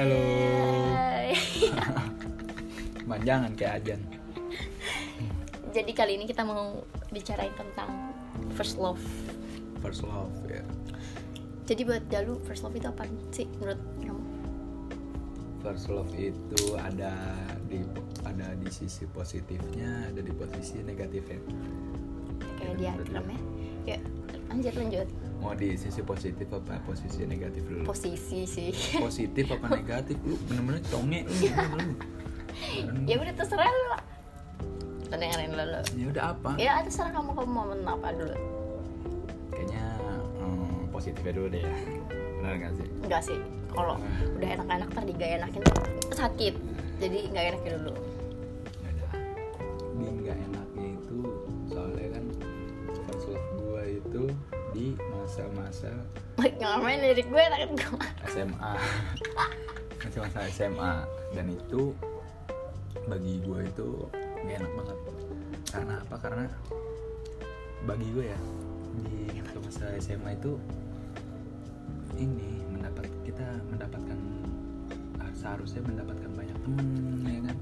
Halo. Manjangan kayak ajan. Jadi kali ini kita mau bicarain tentang first love. First love ya. Jadi buat Jalu first love itu apa sih menurut kamu? First love itu ada di ada di sisi positifnya, ada di posisi negatifnya. Kayak Ini menurut diagram ya. Kayak lanjut lanjut. Mau di sisi positif apa posisi negatif dulu? Posisi sih. positif apa negatif? Lu bener-bener conge lu. lu. ya udah terserah lu. lah. Kita dengerin dulu. Ya udah apa? Ya terserah kamu kamu mau apa dulu. Kayaknya hmm, positifnya dulu deh ya. Benar nggak sih? Enggak sih. Kalau udah enak-enak tadi gak enakin tuh sakit. Jadi nggak enakin dulu. Ya udah. Ini nggak enaknya itu soalnya kan first love gua itu di masa-masa Jangan main lirik gue enakin gue. SMA masih masa SMA dan itu bagi gue itu gak enak banget karena apa karena bagi gue ya di waktu masa SMA itu ini mendapat kita mendapatkan ah, seharusnya mendapatkan banyak temen ya kan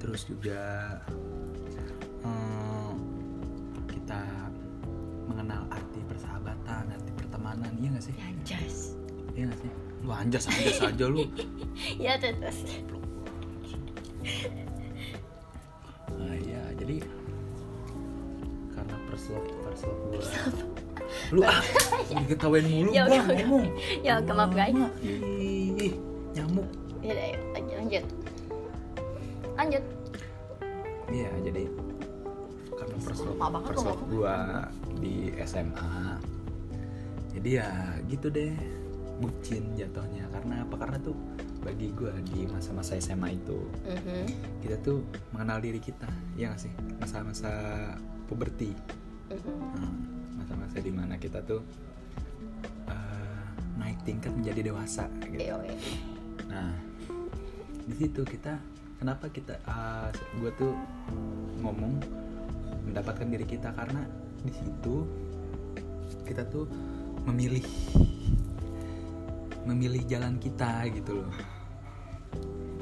terus juga eh, kita mengenal arti persahabatan arti pertemanan iya gak sih Ya jas. Iya gak sih? Lu anjas anjas aja lu. Ya terus. Nah, iya, jadi karena first love, first love gua. Lu ah, diketawain mulu Ya gua udah, udah. ngomong. Ya oke maaf guys. Lama. Ih, nyamuk. Ya udah, yuk, lanjut. Lanjut. Iya, jadi karena first love, Lama banget first lu love gua di SMA. Jadi ya gitu deh bucin jatuhnya karena apa karena tuh bagi gua di masa-masa SMA itu Mhm. kita tuh mengenal diri kita ya nggak sih masa-masa puberti Mhm. Hmm, masa-masa dimana kita tuh eh, naik tingkat menjadi dewasa gitu Iya, oke. nah di situ kita kenapa kita gue tuh ngomong mendapatkan diri kita karena di situ kita tuh memilih memilih jalan kita gitu loh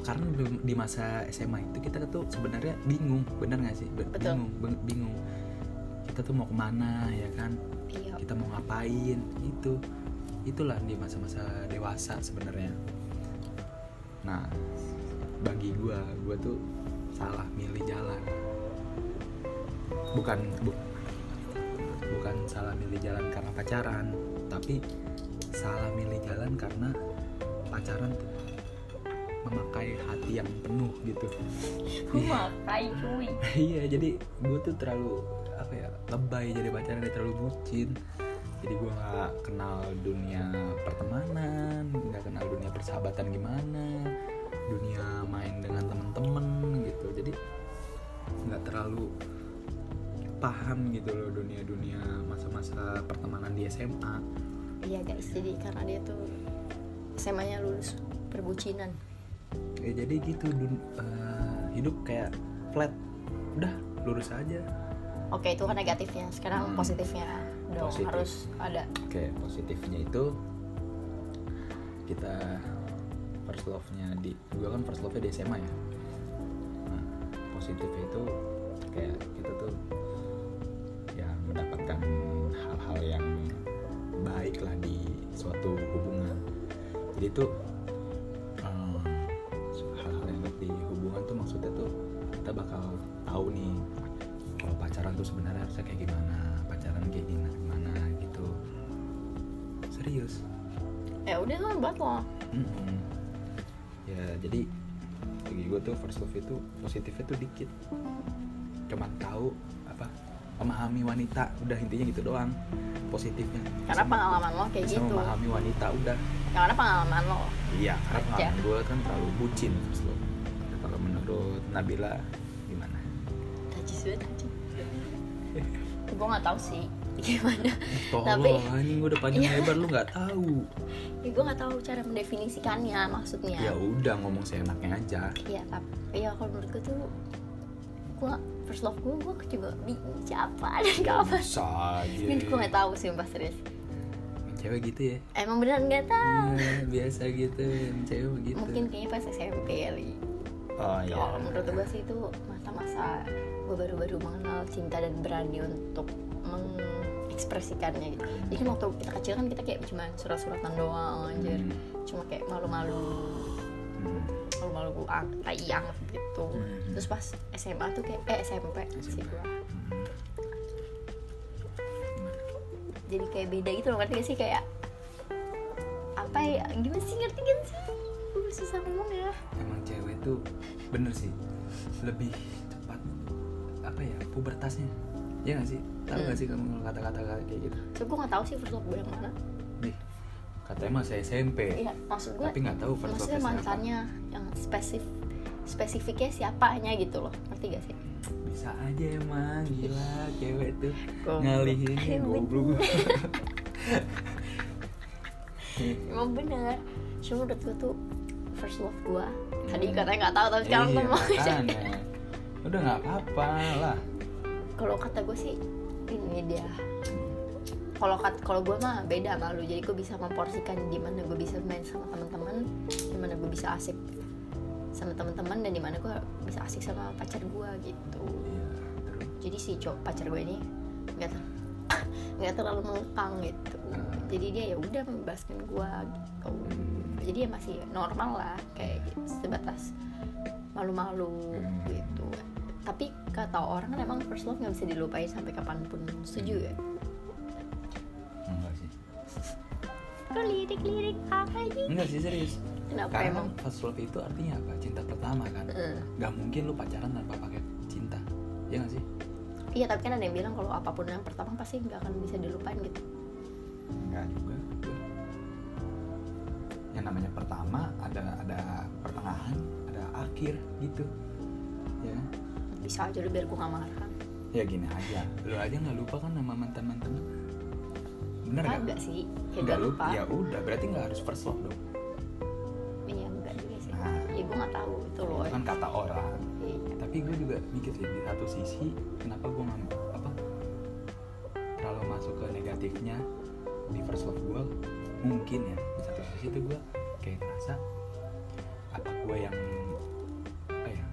karena di- di masa SMA itu kita tuh sebenarnya bingung benar nggak sih Be- Betul. bingung ben- bingung kita tuh mau kemana ya kan Iya. kita mau ngapain itu itulah di masa-masa dewasa sebenarnya nah bagi gua gua tuh salah milih jalan bukan bu- bukan salah milih jalan karena pacaran tapi salah milih jalan karena pacaran memakai hati yang penuh gitu Makai cuy. iya jadi gue tuh terlalu apa ya lebay jadi pacaran dia terlalu bucin jadi gue nggak kenal dunia pertemanan nggak kenal dunia persahabatan gimana dunia main dengan temen-temen gitu jadi nggak terlalu paham gitu loh dunia-dunia masa-masa pertemanan di SMA Iya guys, jadi karena dia tuh SMA-nya lulus perbucinan. ya jadi gitu dun- eh, hidup kayak flat udah lurus aja Oke, itu kan negatifnya. Sekarang Hmm. positifnya dong Positif. harus ada. Oke, positifnya itu kita first love-nya di gue kan first love-nya di SMA ya. Nah, positifnya itu kayak kita tuh ya mendapatkan hal-hal yang baik lah di suatu hubungan. Jadi tuh eh, hal-hal yang baik di hubungan tuh maksudnya tuh kita bakal tahu nih kalau pacaran tuh sebenarnya harusnya kayak gimana, pacaran kayak gimana, gimana gitu. Serius. Ya udah kan buat lo. Mm-mm. Ya jadi bagi gue tuh first love itu positifnya tuh dikit. Cuman tahu apa memahami wanita udah intinya gitu doang positifnya. Karena Bisa- pengalaman lo kayak bisa gitu. memahami wanita udah. Karena pengalaman lo. Iya karena Aja. pengalaman gue kan terlalu bucin first love. Kalau menurut Nabila gimana? Tajis banget tajis. gue nggak tahu sih gimana. Eh, Tolong, anjing gue udah panjang lebar lu nggak tahu. Ya, gue nggak tahu cara mendefinisikannya maksudnya. Ya udah ngomong seenaknya aja. Iya, tapi ya kalau menurut gue tuh gue first love gue gue Iya. juga bingung siapa dan kapan. Bisa aja. Ini gue nggak tahu sih mbak serius. cewek gitu ya emang beneran nggak tahu Iya, biasa gitu yang cewek begitu mungkin kayaknya pas SMP kali oh iya kalau menurut gue sih itu masa-masa gue baru-baru mengenal cinta dan berani untuk mengekspresikannya gitu Hmm. jadi kan waktu kita kecil kan kita kayak cuma surat-suratan doang anjir Hmm. cuma kayak malu-malu Hmm. malu-malu gue ang tai anget gitu Hmm. terus pas SMA tuh kayak eh SMP sih SMP. gue Hmm. jadi kayak beda gitu loh ngerti gak sih kayak apa ya gimana sih ngerti gak sih Gue susah ngomong ya emang cewek tuh bener sih lebih cepat apa ya pubertasnya ya nggak sih tahu Hmm. nggak sih kamu kata-kata kayak gitu so gue nggak tahu sih first love gue yang mana nih katanya masih SMP iya maksud gue tapi nggak tahu first maksudnya love-nya siapa. mantannya yang spesif spesifiknya siapanya gitu loh ngerti gak sih bisa aja emang gila cewek tuh Goblok. ngalihin Emang goblok emang bener cuma menurut gue tuh first love gue tadi katanya nggak tahu tapi sekarang Hmm. Iya, gue mau makanya. udah nggak apa-apa lah kalau kata gue sih ini dia kalau kat- kalau gue mah beda sama lu jadi gue bisa memporsikan di mana gue bisa main sama teman-teman di mana gue bisa asik sama teman-teman dan di mana gue bisa asik sama pacar gue gitu Iya, terus jadi si cowok pacar gue ini nggak ter- nggak terlalu mengekang gitu Hmm. jadi dia ya udah membebaskan gue gitu jadi ya masih normal lah kayak sebatas malu-malu Hmm. gitu tapi kata orang kan emang first love nggak bisa dilupain sampai kapanpun setuju ya enggak sih kok lirik-lirik apa aja enggak sih serius kenapa Karena emang first love itu artinya apa? Cinta pertama kan? Mm. Gak mungkin lu pacaran tanpa pakai cinta Ya gak sih? iya tapi kan ada yang bilang kalau apapun yang pertama pasti nggak akan bisa dilupain gitu Enggak juga Yang namanya pertama ada ada pertengahan, ada akhir gitu Ya bisa aja lu biar gue nggak marah ya gini aja Lu aja gak lupa kan sama mantan-mantan lu? Bener gak? agak sih ya nggak lupa Ya udah, berarti gak harus first love dong iya nggak juga sih Nah. ya gue nggak tahu itu loh Itu kan kata orang Iya. tapi gue juga mikir sih di satu sisi kenapa gue nggak apa terlalu masuk ke negatifnya di first love gue mungkin ya di satu sisi itu gue kayak ngerasa apa gue yang apa ya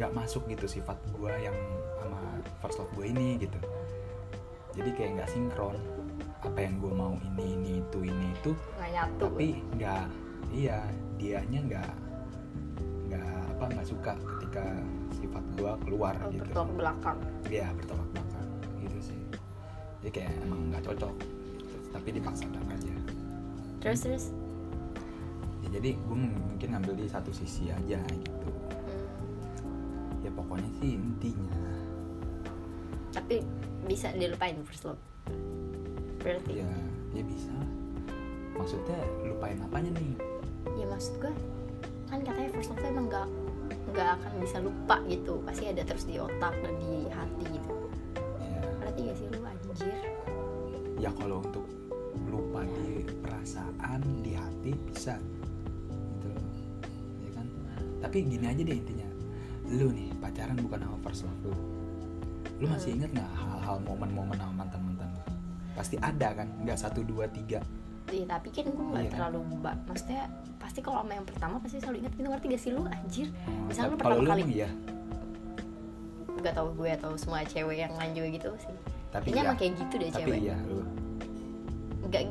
nggak masuk gitu sifat gue yang sama first love gue ini gitu jadi kayak nggak sinkron apa yang gue mau ini ini itu ini itu nggak nyatu tapi nggak iya dianya nggak nggak apa nggak suka ketika sifat gua keluar Oh, gitu bertolak belakang iya bertolak belakang gitu sih jadi kayak emang nggak cocok gitu. tapi dipaksakan aja terus terus Ya, jadi gue mungkin ngambil di satu sisi aja gitu Hmm. ya pokoknya sih intinya tapi bisa dilupain first love berarti ya ya bisa lah. maksudnya lupain apanya nih ya maksud gue kan katanya first love tuh emang gak nggak akan bisa lupa gitu pasti ada terus di otak dan di hati gitu ya, berarti gak sih lu anjir ya kalau untuk lupa di perasaan di hati bisa gitu loh ya kan tapi gini aja deh intinya lu nih pacaran bukan sama first love lu lu masih inget nggak hal-hal momen-momen sama mantan mantan lu pasti ada kan nggak satu dua tiga ya, tapi kan gue nggak Iya. terlalu ba- maksudnya pasti kalau sama yang pertama pasti selalu ingat gitu ngerti gak sih lu anjir Hmm, Misalnya lu tapi kalau pertama kali- emang iya gak tau gue atau semua cewek yang lanjut gitu sih tapi kayaknya iya emang kayak gitu deh tapi cewek iya lu nggak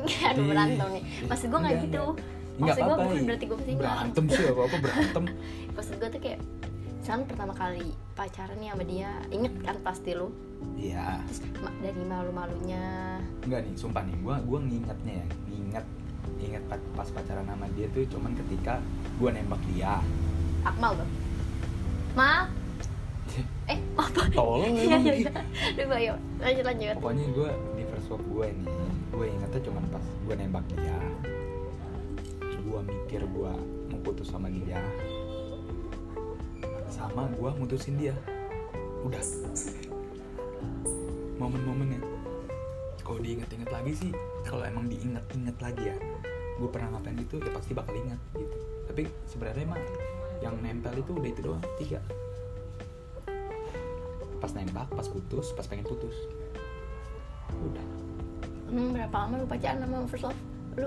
nggak ada berantem nih Ih, maksud gue nggak enggak, gitu Nggak maksud gue apa-apa, bukan iya. berarti gue pasti ingat berantem sih apa apa berantem maksud gue tuh kayak misalnya pertama kali pacaran nih sama dia inget kan pasti lu iya terus ma- dari malu-malunya Enggak nih, sumpah nih, gue gua ngingetnya ya, nginget inget pa- pas pacaran sama dia tuh cuman ketika gue nembak dia Akmal dong mal eh apa tolong iya emang iya gitu. iya Aduh, ayo lanjut lanjut pokoknya gue di first love gue nih gue ingetnya cuman pas gue nembak dia gue mikir gue mau putus sama dia sama gue mutusin dia udah momen-momennya kalau diinget-inget lagi sih kalau emang diinget-inget lagi ya gue pernah ngapain gitu ya pasti bakal ingat gitu tapi sebenarnya emang yang nempel itu udah itu doang tiga pas nembak pas putus pas pengen putus udah Hmm, berapa lama lu pacaran sama first love lu?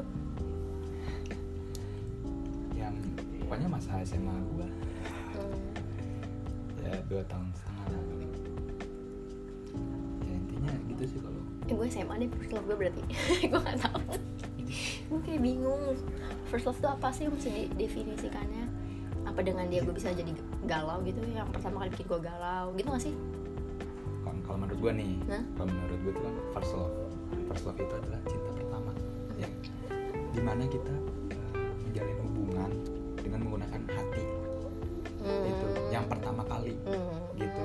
yang pokoknya masa SMA gua Hmm, ya dua tahun setengah lah paling ya intinya gitu sih kalau eh, gue SMA deh first love gue berarti gue nggak tahu gue kayak bingung first love tuh apa sih yang mesti didefinisikannya apa dengan dia gue bisa jadi galau gitu yang pertama kali bikin gue galau gitu gak sih kalau kalau menurut gua nih Hah? kalau menurut gua tuh kan first love first love itu adalah cinta pertama ya dimana kita eh, menjalin hubungan dengan menggunakan hati Hmm. itu Gitu. yang pertama kali Hmm. gitu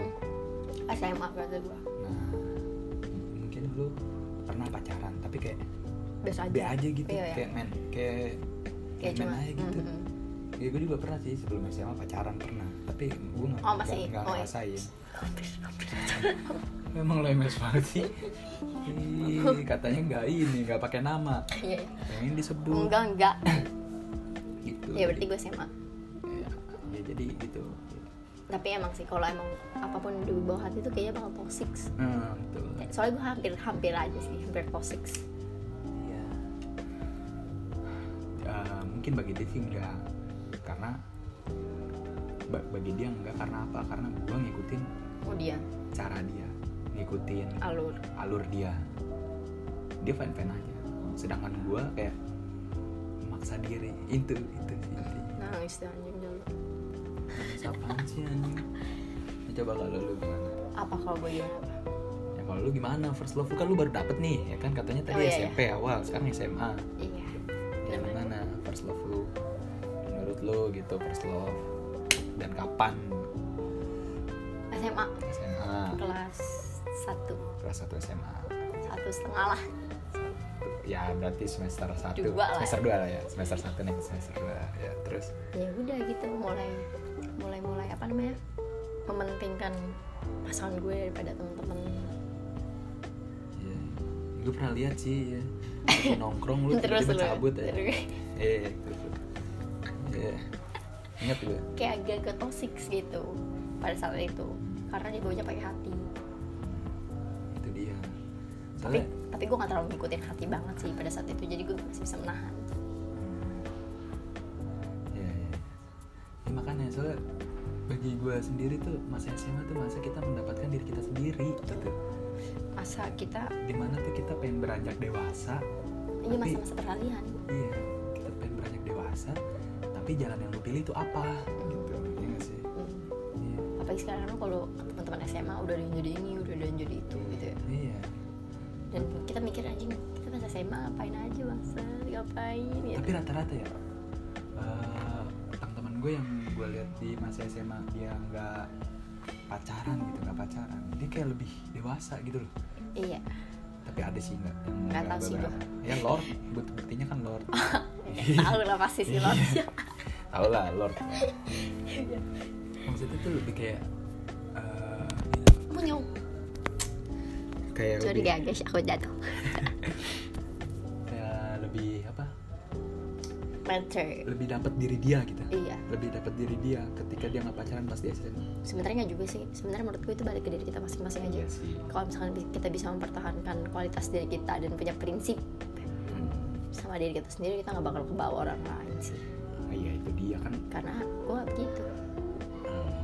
SMA berarti gue nah m- mungkin lu pernah pacaran tapi kayak biasa aja be aja gitu Iya, iya. kayak men kayak kayak men cuma hmm. aja gitu Mm-mm. ya gue juga pernah sih sebelum SMA pacaran pernah tapi gue nggak Oh, masih? nggak- nggak Oh, iya. ngerasain Emang lo MS banget sih. Ih, katanya nggak ini, nggak pakai nama. Iya, iya. Pengen disebut enggak enggak gitu. ya berarti gue SMA Ya, ya, jadi gitu. tapi emang sih kalau emang apapun di bawah hati tuh kayaknya bakal toxic Nah, betul. soalnya gue hampir hampir aja sih hampir toxic Iya. Eh, mungkin bagi dia sih enggak karena ba- bagi dia enggak karena apa? Karena gua ngikutin oh dia cara dia, ngikutin alur alur dia. Dia fan-fan aja. Sedangkan gua kayak maksa diri itu itu sih intinya. nangis tuh anjing dulu Siapaan sih anjing? Nah, Coba kalau lu gimana? apa kalau gue gimana apa Ya kalau lu gimana? First love lu kan lu baru dapet nih, ya kan katanya tadi Oh, iya, SMP awal, sekarang SMA. iya kan? Ya, Kenapa? gimana first love lu? Menurut lu gitu first love dan kapan? SMA SMA kelas satu kelas 1 SMA. satu setengah lah Ya berarti semester 1 Dua lah. Semester 2 lah ya Semester 1 nih semester 2 ya, Terus ya udah gitu mulai mulai mulai apa namanya mementingkan pasangan gue daripada temen-temen ya, Gue pernah lihat sih ya Lagi Nongkrong lu terus tiba-tiba lu cabut ya terus. Iya terus lu. Iya Ingat gue kayak agak ke toxic gitu pada saat itu karena dia bawanya pakai hati Itu dia tapi Soalnya tapi gue gak terlalu ngikutin hati banget sih pada saat itu jadi gue masih bisa menahan ya, ya. ya makanya soalnya bagi gue sendiri tuh masa SMA tuh masa kita mendapatkan diri kita sendiri gitu masa kita dimana tuh kita pengen beranjak dewasa ini Tapi- masa-masa peralihan iya kita pengen beranjak dewasa tapi jalan yang lu pilih tuh apa gitu iya gak sih Hmm. iya apalagi sekarang lo kalau ke teman-teman SMA udah ada yang jadi ini udah ada yang jadi itu gitu ya iya dan kita mikir anjing kita masa SMA apain aja masa ngapain gitu tapi rata-rata ya eh, teman-teman gue yang gue lihat di masa SMA dia nggak pacaran gitu nggak pacaran dia kayak lebih dewasa gitu loh iya tapi ada sih nggak yang Nggak tahu sih beberapa. ya lord but- buktinya kan lord Iya, Iya. tahu lah pasti sih lo tau lah lord Iya. maksudnya tuh lebih kayak eh, mau nyong kayak sorry lebih, ya guys aku jatuh kayak lebih apa Mentor lebih dapat diri dia gitu iya lebih dapat diri dia ketika dia nggak pacaran pas dia SMA sebenarnya nggak juga sih sebenarnya menurut gue itu balik ke diri kita masing-masing aja sih kalau misalkan bi- kita bisa mempertahankan kualitas diri kita dan punya prinsip Hmm. sama diri kita sendiri kita nggak bakal kebawa orang lain sih Ah, iya itu dia kan karena gue begitu eh,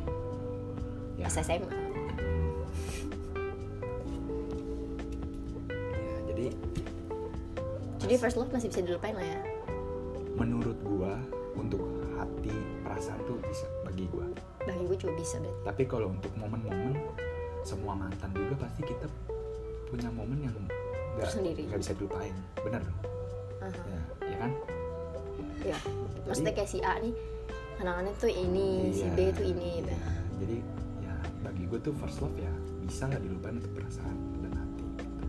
ya pas SMA ya, jadi jadi first love masih bisa dilupain lah ya menurut gua untuk hati perasaan tuh bisa bagi gua bagi gue juga bisa berarti tapi kalau untuk momen-momen semua mantan juga pasti kita punya momen yang nggak Tersendiri. nggak bisa dilupain bener dong Aha. ya, ya kan ya maksudnya kayak si A nih kenangannya tuh ini si Iya. B tuh ini gitu. nah. Iya. jadi ya bagi gue tuh first love ya bisa nggak dilupain untuk perasaan dan hati gitu.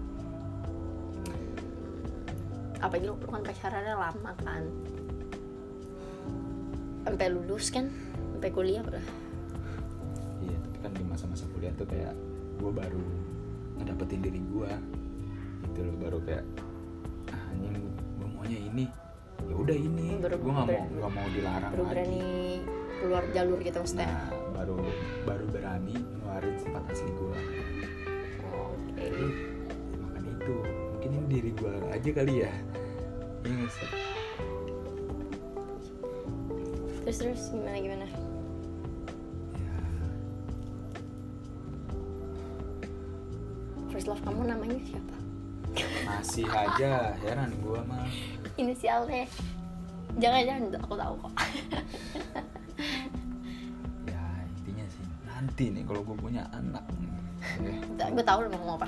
apalagi lu lu kan pacarannya lama kan sampai lulus kan sampai kuliah lah iya tapi kan di masa-masa kuliah tuh kayak gue baru ngedapetin diri gue gitu loh baru kayak ah, anjing gue maunya ini ya udah ini Baru- gue nggak mau baru- nggak mau dilarang baru lagi berani keluar jalur gitu maksudnya nah baru baru berani ngeluarin sifat asli gue oke Jadi, makan Ya, itu mungkin ini diri gue aja kali ya Iya nggak sih? terus terus gimana gimana ya first love kamu namanya siapa masih aja heran gue mah inisialnya jangan jangan aku tahu kok ya intinya sih nanti nih kalau gue punya anak ya, gue tahu lu mau ngomong apa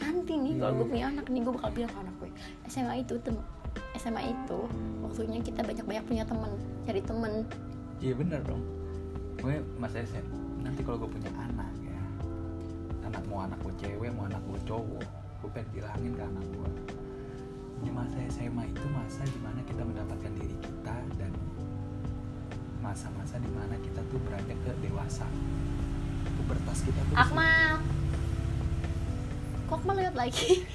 nanti nih kalau gue punya anak nih gue bakal bilang ke anak gue SMA itu tem SMA itu waktunya kita banyak-banyak punya teman cari teman Iya bener dong Gue mas Esen Nanti kalau gue punya anak ya Anak mau anak gue cewek Mau anak gue cowok Gue pengen bilangin ke anak gue Di masa SMA itu masa dimana kita mendapatkan diri kita Dan masa-masa dimana kita tuh berada ke dewasa Pubertas kita tuh Akmal kok Akmal lihat lagi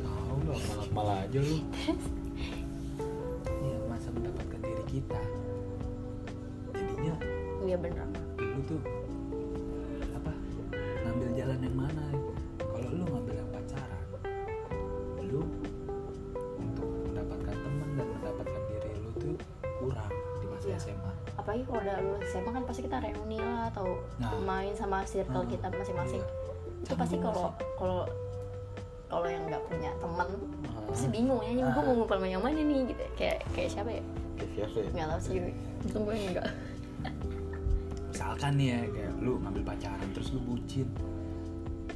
Tahu lah malah malah aja lu Iya masa mendapatkan diri kita Jadinya iya bener lu tuh apa ngambil jalan yang mana kalau lu ngambil yang pacaran lu untuk mendapatkan teman dan mendapatkan diri lu tuh kurang di masa Iya. SMA apalagi kalau udah lulus SMA kan pasti kita reuni lah atau Nah. main sama circle Hmm. kita masing-masing Iya. itu pasti Canggung kalau sih. kalau kalau yang nggak punya teman Ah, pasti bingung ya ini gue mau ngumpul sama yang mana nih gitu kayak kayak siapa ya kayak siapa ya? nggak tahu sih untung gue nggak misalkan nih ya kayak lu ngambil pacaran terus lu bucin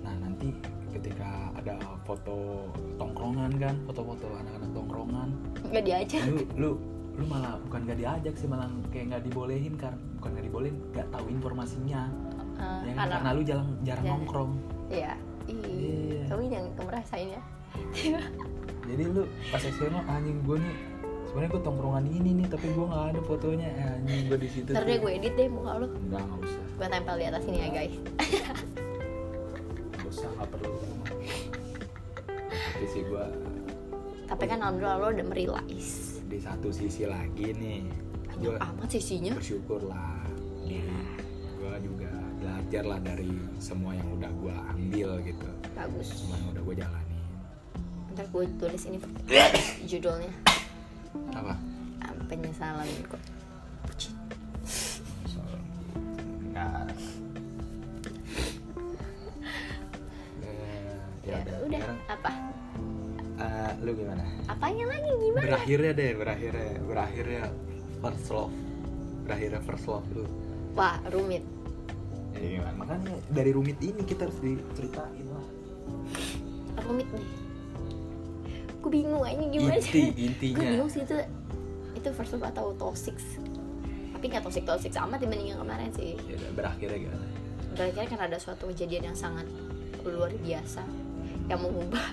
nah nanti ketika ada foto tongkrongan kan foto-foto anak-anak tongkrongan nggak diajak lu lu lu malah bukan gak diajak sih malah kayak nggak dibolehin kan bukan nggak dibolehin nggak tahu informasinya Eh, ya, kan? anak karena lu jarang jarang Jarang. nongkrong Iya. Ih, Iya. kamu jangan kemerasain ya. jadi lu pas SMA oh, anjing gue nih sebenarnya gue tongkrongan ini nih tapi gue nggak ada fotonya Eh, anjing gue di situ Ntar deh tuh. gue edit deh muka lu. nggak nggak usah Gue tempel di atas ini ya guys. nggak usah nggak perlu tapi sih gue Tapi kan alhamdulillah lo udah merilais. di satu sisi lagi nih Banyak gue amat sisinya. bersyukur lah diri gue juga belajar lah dari semua yang udah gue ambil gitu Bagus. semua yang udah gue jalani Ntar gue tulis ini judulnya. apa Ah, Penyesalan kok. soal enggak ya, Ya, Eh, udah, udah. sekarang Apa? eh, lu gimana Apanya lagi gimana? berakhirnya deh berakhirnya berakhirnya first love berakhirnya first love lu Wah rumit. ya, gimana? makanya dari rumit ini kita harus diceritain lah Rumit nih. Gue bingung aja gimana. inti Gue intinya bingung sih itu itu first love atau toxic tapi nggak toxic toxic amat dibanding yang kemarin sih ya udah, berakhirnya gimana berakhir kan ada suatu kejadian yang sangat luar biasa yang mengubah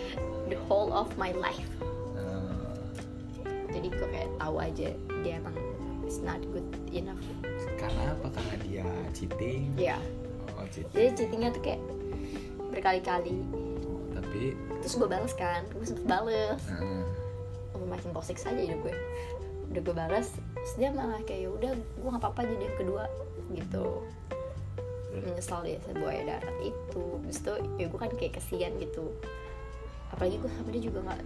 the whole of my life Eh, jadi gue kayak tahu aja dia emang it's not good enough karena apa karena dia cheating ya oh cheating jadi cheatingnya tuh kayak berkali-kali Oh, tapi terus gue bales kan gue sempet bales eh, oh, makin toxic saja hidup gue udah gue balas terus dia malah kayak "Ya udah gue nggak apa-apa jadi yang kedua gitu eh, Hmm. menyesal dia sebuah darat itu terus tuh ya gue kan kayak kesian gitu apalagi gue sama dia juga nggak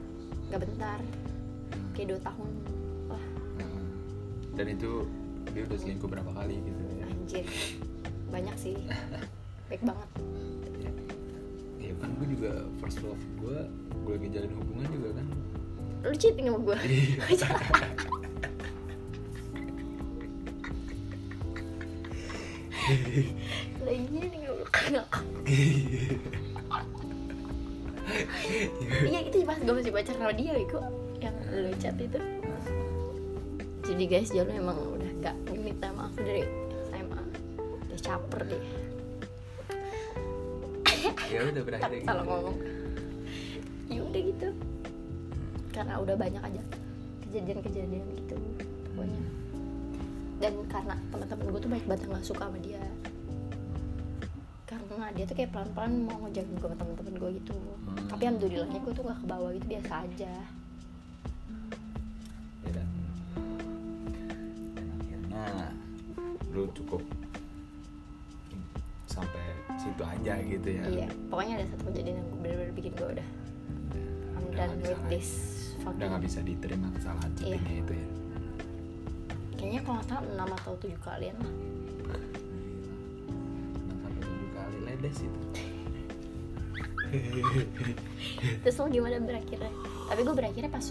nggak bentar kayak dua tahun wah Heeh. Dan itu dia udah selingkuh berapa kali gitu ya. anjir banyak sih baik banget Ya kan gue juga first love gue, gue lagi jalin hubungan juga kan. lu cheating sama gue lagi cheating sama gue iya itu pas gue masih pacar sama dia Wiko yang lu chat itu jadi guys Jalo emang udah gak minta maaf dari SMA udah caper deh ya udah berakhir tapi gitu. salah ngomong ya udah gitu karena udah banyak aja kejadian-kejadian gitu pokoknya dan karena teman-teman gue tuh banyak banget yang gak suka sama dia karena dia tuh kayak pelan-pelan mau ngejaga gue sama teman-teman gue gitu Hmm. tapi alhamdulillahnya gue tuh gak ke bawah gitu biasa aja Ya, dan, dan akhirnya lu cukup sampai situ gitu ya. aja gitu ya. iya pokoknya ada satu kejadian yang bener-bener bikin gue udah Iya. udah done nggak bisa with lagi. this udah fucking nggak bisa diterima kesalahan cheatingnya itu ya kayaknya kalau nggak salah enam atau tujuh kalian lah Nah, sampai tujuh kali ledes itu terus lo gimana berakhirnya tapi gue berakhirnya pas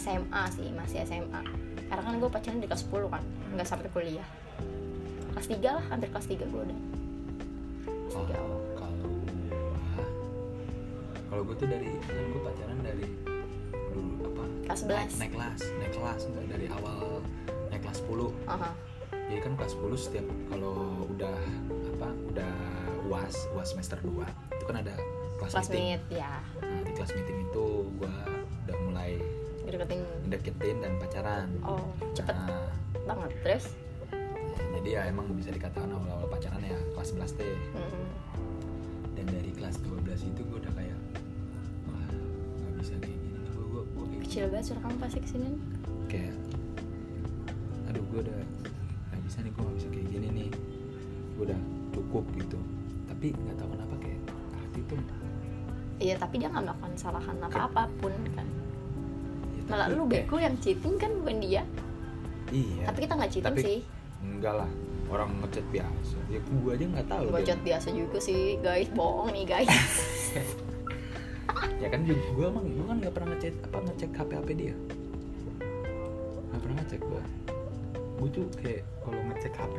SMA sih masih SMA karena kan gue pacaran di kelas 10 kan nggak sampai kuliah kelas 3 lah hampir kelas 3 gue udah kalau Ah, Oh, kalau gua kalau gue tuh dari kan gue pacaran dari dulu apa kelas naik, 11 naik kelas naik kelas enggak dari awal naik kelas 10 Aha. jadi kan kelas 10 setiap kalau udah apa udah uas uas semester 2 itu kan ada kelas, kelas meeting mid ya nah di kelas meeting itu gue udah mulai deketin deketin dan pacaran oh cepet Nah, banget terus jadi ya emang bisa dikatakan awal-awal pacaran ya kelas 11 teh Mm-mm. dan dari kelas 12 itu gue udah kayak wah nggak bisa kayak gini nih gue gue gue kayak gitu. kecil banget suara kamu pasti kesini kayak aduh gue udah nggak bisa nih gue nggak bisa kayak gini nih gue udah cukup gitu tapi nggak tahu kenapa kayak hati itu ya, iya tapi dia nggak melakukan kesalahan apa apapun kan ya, malah tapi lu kayak- bego yang cheating kan bukan dia iya tapi kita nggak cheating Tapi- sih enggak lah orang ngechat biasa ya gue aja nggak tahu bocot dia- biasa juga sih guys bohong nih guys ya kan gue emang gue kan nggak pernah ngechat apa ngecek hp hp dia nggak pernah ngecek gue gue tuh kayak kalau ngecek hp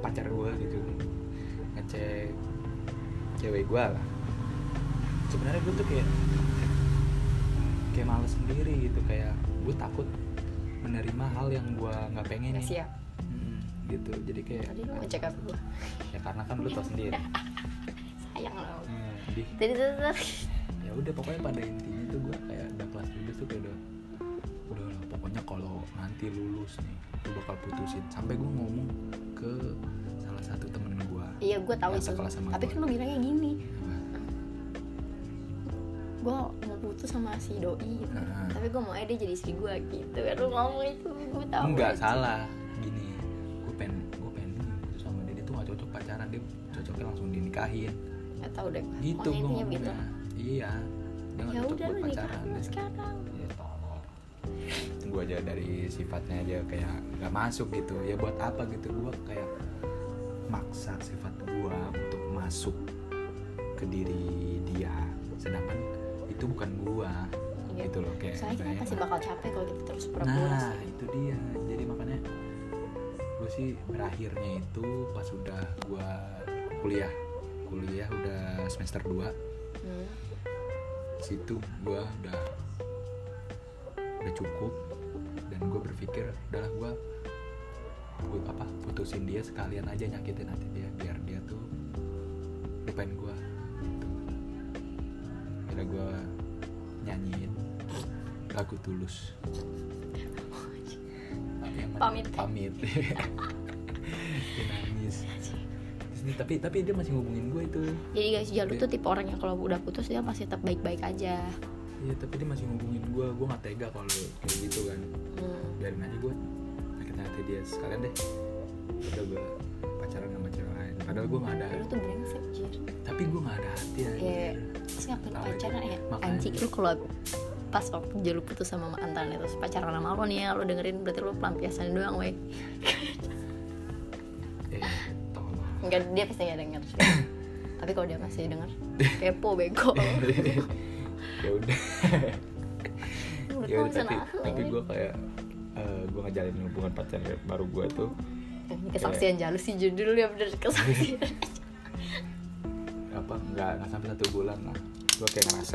pacar gue gitu ngecek cewek gue lah sebenarnya gue tuh kayak kayak males sendiri gitu kayak gue takut menerima hal yang gue nggak pengen nggak siap Mm, gitu jadi kayak tadi lu Iya. ngecek apa gua ya karena kan lu tau sendiri sayang lo Hmm, di tadi tuh tuh, tuh. ya udah pokoknya pada intinya tuh gue kayak udah kelas 12 tuh kayak udah udah lah pokoknya kalau nanti lulus nih gue bakal putusin sampai gue ngomong ke salah satu temen gue iya gue tahu Yang itu sekelas sama tapi gua. kan lu bilangnya gini gue mau putus sama si doi gitu. Heeh. tapi gue mau aja dia jadi istri gue gitu kan lu ngomong itu gue tahu enggak salah gini gue pengen gue pengen putus sama dia dia tuh gak cocok pacaran dia cocoknya langsung dinikahin nggak tahu deh gue gitu gue Oh, intinya begitu ngomongnya iya dia gak ya cocok udah buat lu pacaran nikahin Dia- sekarang ya tolol gue aja dari sifatnya dia kayak nggak masuk gitu ya buat apa gitu gue kayak maksa sifat gue untuk masuk ke diri dia sedangkan itu bukan gue Iya. gitu loh kayak soalnya kita kayak- pasti bakal capek kalau kita terus pura-pura nah sih. itu dia jadi makanya gue sih berakhirnya itu pas udah gue kuliah kuliah udah semester 2 Hmm. situ gua udah udah cukup dan gue berpikir udahlah gua gue apa putusin dia sekalian aja nyakitin hati dia biar dia tuh lupain gua gitu. Akhirnya gua nyanyiin lagu tulus Yang mana? Pamit. pamit Dia nangis Terus dia- tapi tapi dia masih ngubungin gue itu jadi guys Jalu tuh tipe orang yang kalau udah putus dia pasti tetap baik-baik aja Iya tapi dia masih ngubungin gue, gue gak tega kalau kayak gitu kan hmm. Biarin aja gue sakit hati dia sekalian deh Udah gue pacaran sama cewek lain Padahal gue gak ada, lu tuh brengsek jir tapi gue gak ada hati aja Iya. terus ngapain Tahu pacaran aja. ya Makanya. anjing lu kalau pas waktu dia lu putus sama mantan itu pacaran sama lo nih ya lu dengerin berarti lu pelampiasan doang weh Eh, tolong enggak dia pasti nggak denger sih. tapi kalau dia masih denger kepo bego Ya udah, Menurut ya lu udah bisa tapi, nahan, tapi anjing. gue kayak gue ngejalin hubungan pacaran baru gue tuh Eh, Ini kesaksian Iya. jalus sih judulnya bener kesaksian apa nggak nggak sampai satu bulan lah gue kayak ngerasa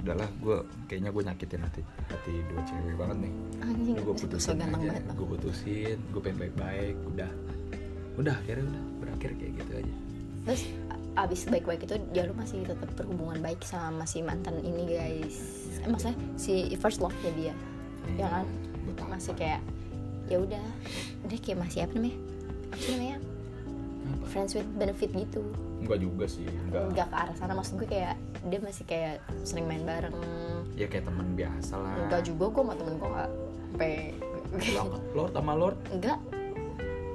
udahlah gue kayaknya gue nyakitin hati hati dua cewek banget nih anjing Iya, gue itu so putusin ganteng aja banget Bang. gue putusin gue pengen baik-baik udah udah akhirnya udah berakhir kayak gitu aja terus a- abis baik-baik itu dia lu masih tetap berhubungan baik sama si mantan ini guys eh, maksudnya si first love nya dia Hmm. ya kan Buat apa? masih kayak ya udah dia kayak masih apa namanya apa sih namanya Apa? friends with benefit gitu enggak juga sih enggak nggak ke arah sana maksud gue kayak dia masih kayak sering main bareng ya kayak teman biasa lah enggak juga gue sama temen gue nggak sampai Lord, Lord sama Lord enggak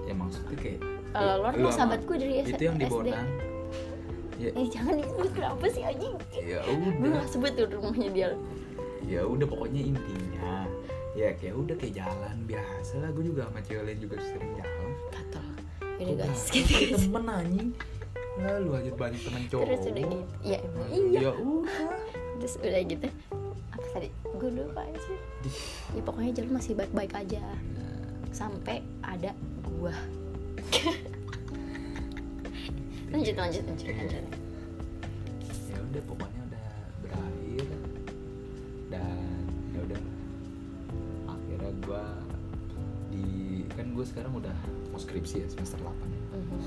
ya maksudnya kayak kalau Lord lu mah sama- sahabat gue dari S- itu yang di SD Bonang ya Ih, Eh, jangan disebut kenapa sih anjing ya gue udah gak sebut tuh rumahnya dia ya udah pokoknya intinya ya kayak udah kayak jalan biasa lah gue juga sama cewek lain juga sering jalan gatel udah Udah, guys gitu cari guys temen anjing Lah, lu aja banyak temen cowok terus udah gitu ya emang Aduh, iya ya udah terus udah gitu apa tadi gue lupa aja Dih. ya pokoknya jalan masih baik-baik aja Nah, sampai ada gua lanjut lanjut lanjut Iya. lanjut ya udah pokoknya udah berakhir dan ya udah akhirnya gue di kan gue sekarang udah mau skripsi ya semester 8 ya Mhm.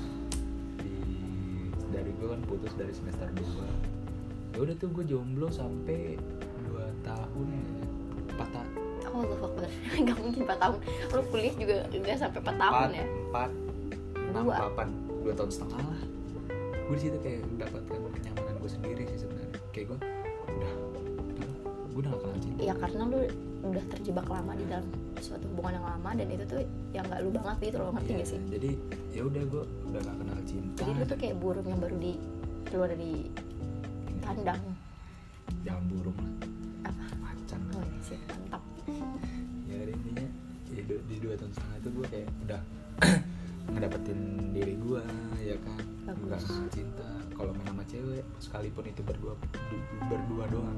di dari gue kan putus dari semester 2 ya udah tuh gue jomblo sampai 2 tahun ya 4 tahun Oh Allah Akbar Gak mungkin 4 tahun Lu kuliah juga gak sampai 4 tahun empat ya empat enam Dua. delapan dua tahun setengah lah gue di situ kayak mendapatkan kenyamanan gue sendiri sih sebenarnya kayak gue udah gue udah gak kenal cinta Ya karena lu udah terjebak lama di dalam suatu hubungan yang lama Dan itu tuh yang gak lu banget gitu loh Ngerti Iya, gak sih? jadi ya udah gue udah gak kenal cinta Jadi lu tuh kayak burung yang baru di keluar dari kandang jangan burung lah Apa? Hmm. macan lah Oh iya sih mantap ya dari intinya ya, du- di dua tahun setengah itu gue kayak udah ngedapetin diri gue ya kan Bagus. nggak kenal cinta kalau main sama cewek sekalipun itu berdua du- berdua doang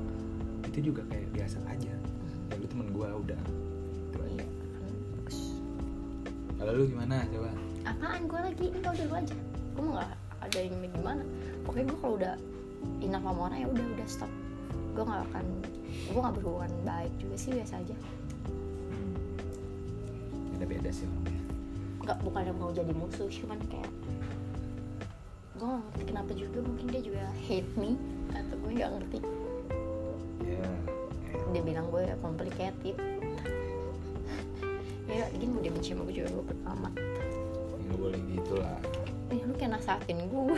itu juga kayak biasa aja ya lu temen gue udah itu aja Iya kan bagus kalau lu gimana coba Apaan gue lagi? Enggak udah lu aja Gue mau gak ada yang gimana Pokoknya gue kalau udah inap sama orang ya udah udah stop Gue gak akan Gue gak berhubungan baik juga sih biasa aja Hmm. beda beda sih orangnya nggak bukan yang mau jadi musuh cuman kayak gue gak ngerti kenapa juga mungkin dia juga hate me atau gue nggak ngerti ya dia bilang gue complicated ya gini mau dia benci sama gue juga gue bodo amat ya lu boleh gitu lah ya lu kayak nasehatin gue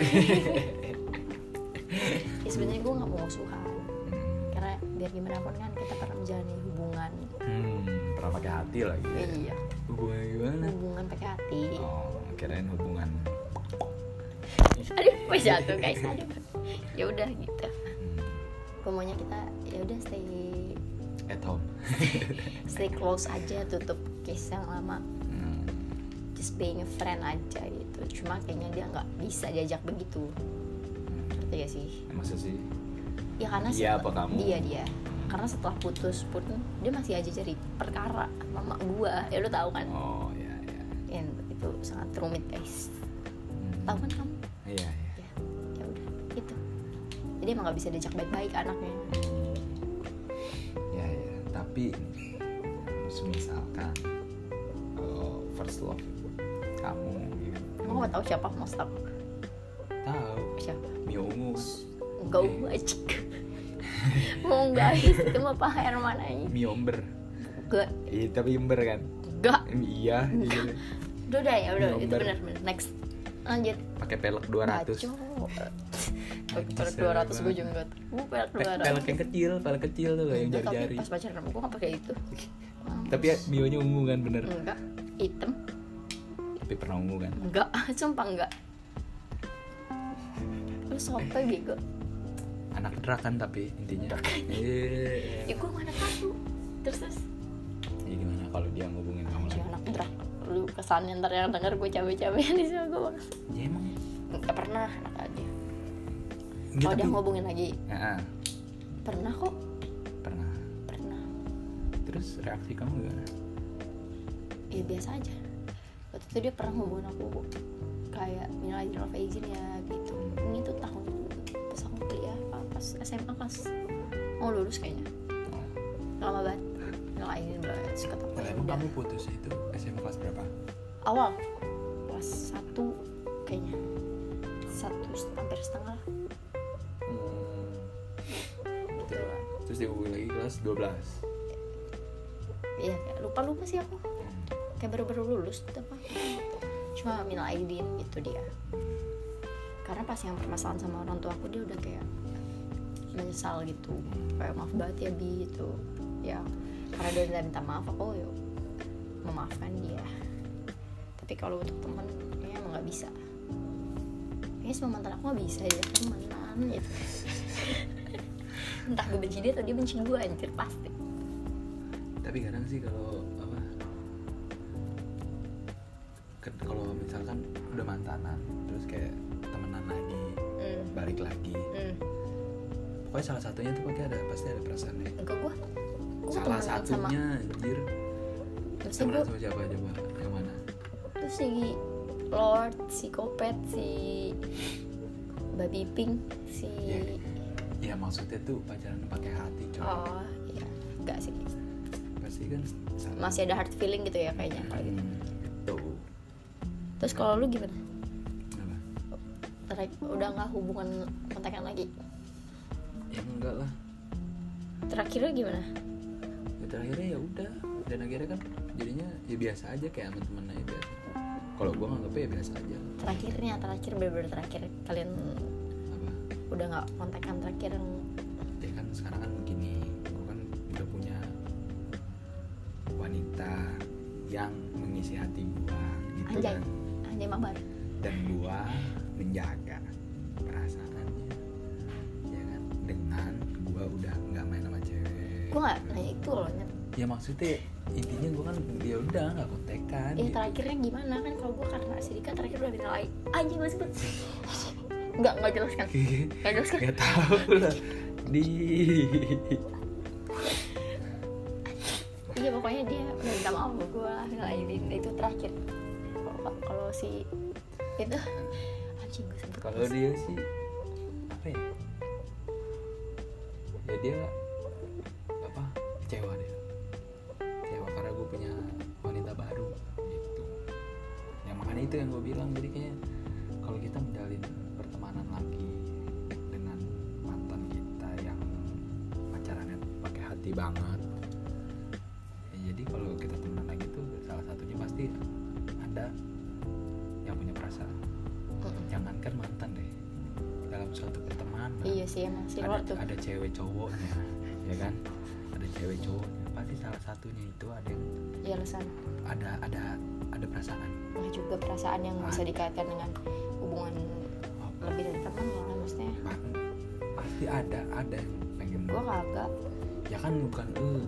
ya sebenarnya gue nggak mau musuhan hmm. karena biar gimana pun kan kita pernah menjalani hubungan hmm pernah pakai hati lagi ya. iya hubungan gimana hubungan pakai hati Nah. oh kirain hubungan aduh gue jatuh guys aduh ya udah gitu hmm. gue maunya kita ya udah stay at home stay close aja tutup case yang lama Hmm. just being a friend aja gitu cuma kayaknya dia nggak bisa diajak begitu Hmm. ngerti gak sih Masa sih? ya karena Dia setel- Iya, apa kamu? dia dia karena setelah putus pun dia masih aja cari perkara sama emak gua ya lu tahu kan Oh ya ya. Ya, itu sangat rumit guys Hmm. tahu kan kamu Iya iya. ya ya udah gitu jadi emang nggak bisa diajak baik-baik anaknya Hmm. Ya ya. Tapi misalkan kalau first love kamu gitu. mau nggak tahu siapa mau stop tahu siapa Mio ungu kan? enggak gua cik mau guys itu mah pak Herman aja Mio ember. gua Iya tapi ember kan? enggak Em, Iya. iya. Udah, udah ya, udah, itu Nomor. benar benar. Next. Lanjut. Pakai pelek 200. Baco. Pe- Bagus, Pelek 200 seru gue banget. jenggot. Gue pelek Pe- pelek 200. yang kecil, pelek kecil tuh loh yang Enggak, jari-jari. Iya, Tapi pas pacaran sama gue gak pakai itu. Tapi ya bionya ungu kan bener. Enggak. Hitam. Tapi pernah ungu kan? Enggak. Sumpah enggak. Lu sopai bego. anak drag kan tapi intinya iya Ya gue mana tahu. Terus terus. jadi gimana kalau dia ngubungin kamu Anjir lagi anak drag. Lu kesannya ntar yang denger gue cabe-cabean di sana gue. ya emang Enggak pernah anak aja. enggak Kalau dia tapi ngobongin lagi, Ah, ah, pernah kok. pernah Pernah. terus reaksi kamu gimana ya biasa aja waktu itu dia pernah ngomongin aku kayak minal aidin wal faizin ya gitu ini tuh tahun pas aku kuliah apa, pas SMA pas mau lulus kayaknya oh. lama banget minal aidin wal faizin suka takut Lah, ya emang udah kamu putus itu SMA kelas berapa awal kelas satu kayaknya satu set- hampir setengah lah Hmm. Terus- terus dihubungi lagi kelas 12 iya kayak lupa lupa sih aku kayak baru-baru lulus tuh apa cuma minal aidin itu dia karena pas yang permasalahan sama orang tua aku dia udah kayak menyesal gitu kayak maaf banget ya bi itu ya karena dia udah minta maaf aku "Oh, yuk memaafkan dia tapi kalau untuk teman kayaknya emang nggak bisa kayaknya semua mantan aku mah bisa ya temenan gitu entah gue benci dia atau dia benci gue anjir pasti tapi kadang sih kalau apa ke- kalau misalkan udah mantanan terus kayak temenan lagi hmm. balik lagi Hmm. pokoknya salah satunya tuh pasti ada pasti ada perasaan deh enggak gue gue salah temenan sama satunya anjir terus temenan gue sama siapa coba yang mana tuh si Lord si Kopet si Babi Pink si Iya. ya maksudnya tuh pacaran pakai hati coy oh iya enggak sih pasti kan salah masih ada hard feeling gitu ya kayaknya kalau gitu. Hmm, gitu terus kalau lu gimana Apa? Terek- udah nggak hubungan kontakan lagi ya enggak lah terakhirnya gimana ya terakhirnya ya udah dan akhirnya kan jadinya ya biasa aja kayak sama temen aja biasa kalau gua nganggapnya ya biasa aja terakhirnya terakhir bener-bener terakhir kalian apa udah nggak kontakan terakhir yang ya kan sekarang kan gini gua kan udah punya wanita yang mengisi hati gua gitu Anjay. kan anjay mabar dan gua menjaga perasaannya ya kan dengan gua udah nggak main sama cewek gue nggak nanya itu loh Nyet. ya maksudnya intinya gua kan dia udah nggak kontekan ya gitu. terakhirnya gimana kan kalau gue karena Sidika terakhir udah bilang lain anjing gue sebut nggak nggak jelaskan nggak kan? jelaskan nggak tahu lah di iya pokoknya dia minta maaf sama gue lah ngelainin itu terakhir kalau kalau si itu anjing gue sebut kalau dia sih apa ya ya dia apa kecewa dia kecewa karena gue punya wanita baru gitu yang makanya itu yang gue bilang jadi kayaknya kalau kita menjalin pertemanan lagi dengan mantan kita yang pacarannya pakai hati banget ya, jadi kalau kita temenan lagi tuh salah satunya pasti ada yang punya perasaan Mm-mm. jangankan mantan deh dalam suatu pertemanan iya sih emang si ada, Lord tuh ada cewek cowoknya ya kan ada cewek cowoknya pasti salah satunya itu ada yang ya alasan ada ada ada perasaan nggak juga perasaan yang bisa dikaitkan dengan hubungan lebih dari teman ya kan maksudnya Pa- pasti ada ada yang pengen gue kagak ya kan bukan lu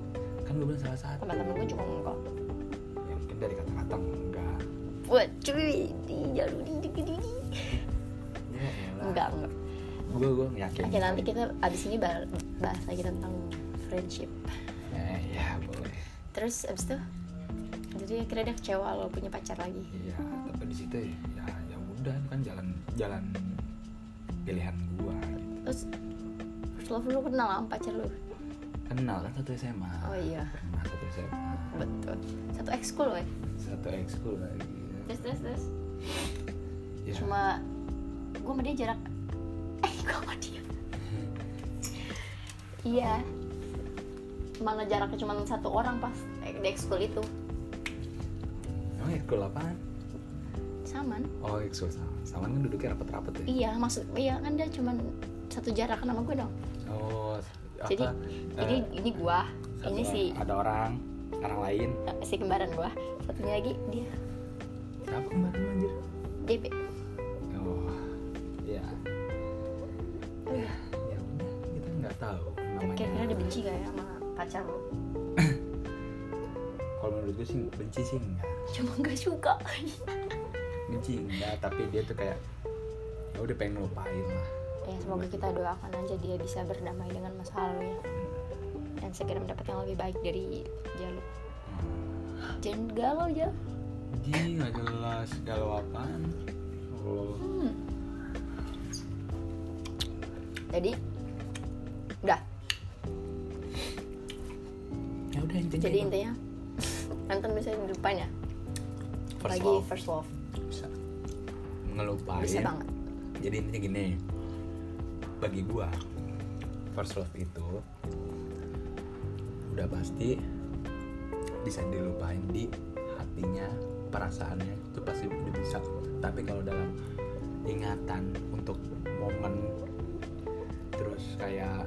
kan gue bilang salah satu teman-teman gue cuma ngomong ya mungkin dari kata-kata enggak buat cuy di jalur di di di ya enggak enggak gue gue yakin oke nanti kita abis ini ba- bahas lagi tentang friendship eh, ya boleh terus abis itu jadi akhirnya dia kecewa lo punya pacar lagi Iya, tapi di situ ya, ya ya udah itu kan jalan jalan pilihan gua gitu. terus first love lu kenal sama pacar lu Kenal kan satu SMA. Oh iya. Pernah satu SMA, betul satu ekskul ya satu ekskul lagi. terus terus terus Ya, cuma gue sama dia jarak eh gue sama dia iya mana jaraknya cuma satu orang pas di ekskul itu emang ekskul apaan? saman Oh ekskul sama. Sama kan duduknya rapat-rapat ya. iya maksud iya kan dia cuma satu jarak kan sama gue dong Oh apa? jadi eh, jadi ini gua satu ini si orang- ada orang orang lain. eh, si kembaran gua satunya lagi dia Kenapa kemarin lu, anjir? DP Oh iya. Ya, ya udah kita nggak tahu namanya. kira-kira dia benci gak ya sama pacar lu Kalau menurut gue sih benci sih enggak. cuma gak suka benci enggak tapi dia tuh kayak ya udah pengen ngelupain lah ya semoga kita doakan aja dia bisa berdamai dengan masa lalunya dan segera mendapatkan yang lebih baik dari jalur jangan galau ya Ji nggak jelas galau apaan oh hmm. jadi udah ya udah intinya jadi itu. intinya mantan bisa di depannya First lagi love. Ah, iya. first love bisa ngelupain bisa banget jadi intinya gini bagi gua first love itu udah pasti bisa dilupain di hatinya perasaannya itu pasti udah bisa tapi kalau dalam ingatan untuk momen terus kayak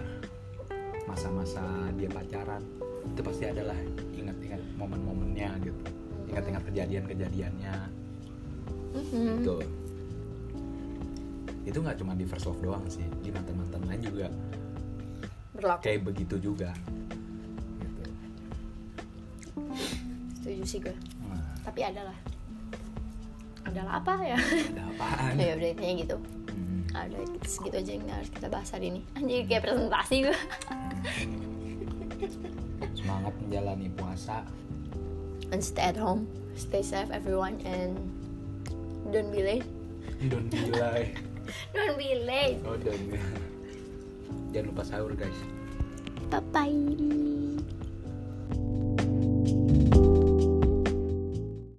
masa-masa dia pacaran itu pasti adalah ingat-ingat momen-momennya gitu Mm-hmm. ingat-ingat kejadian-kejadiannya Mhm. Tuh. itu nggak cuma di first love doang sih di mantan mantan lain juga berlaku kayak begitu juga gitu setuju sih gue nah, tapi adalah adalah apa ya ada apaan ya udah intinya gitu Hmm. ada segitu aja yang harus kita bahas hari ini anjir kayak presentasi gue semangat menjalani puasa and stay at home stay safe everyone and don't be late don't be like don't be late oh don't be- jangan lupa sahur guys bye bye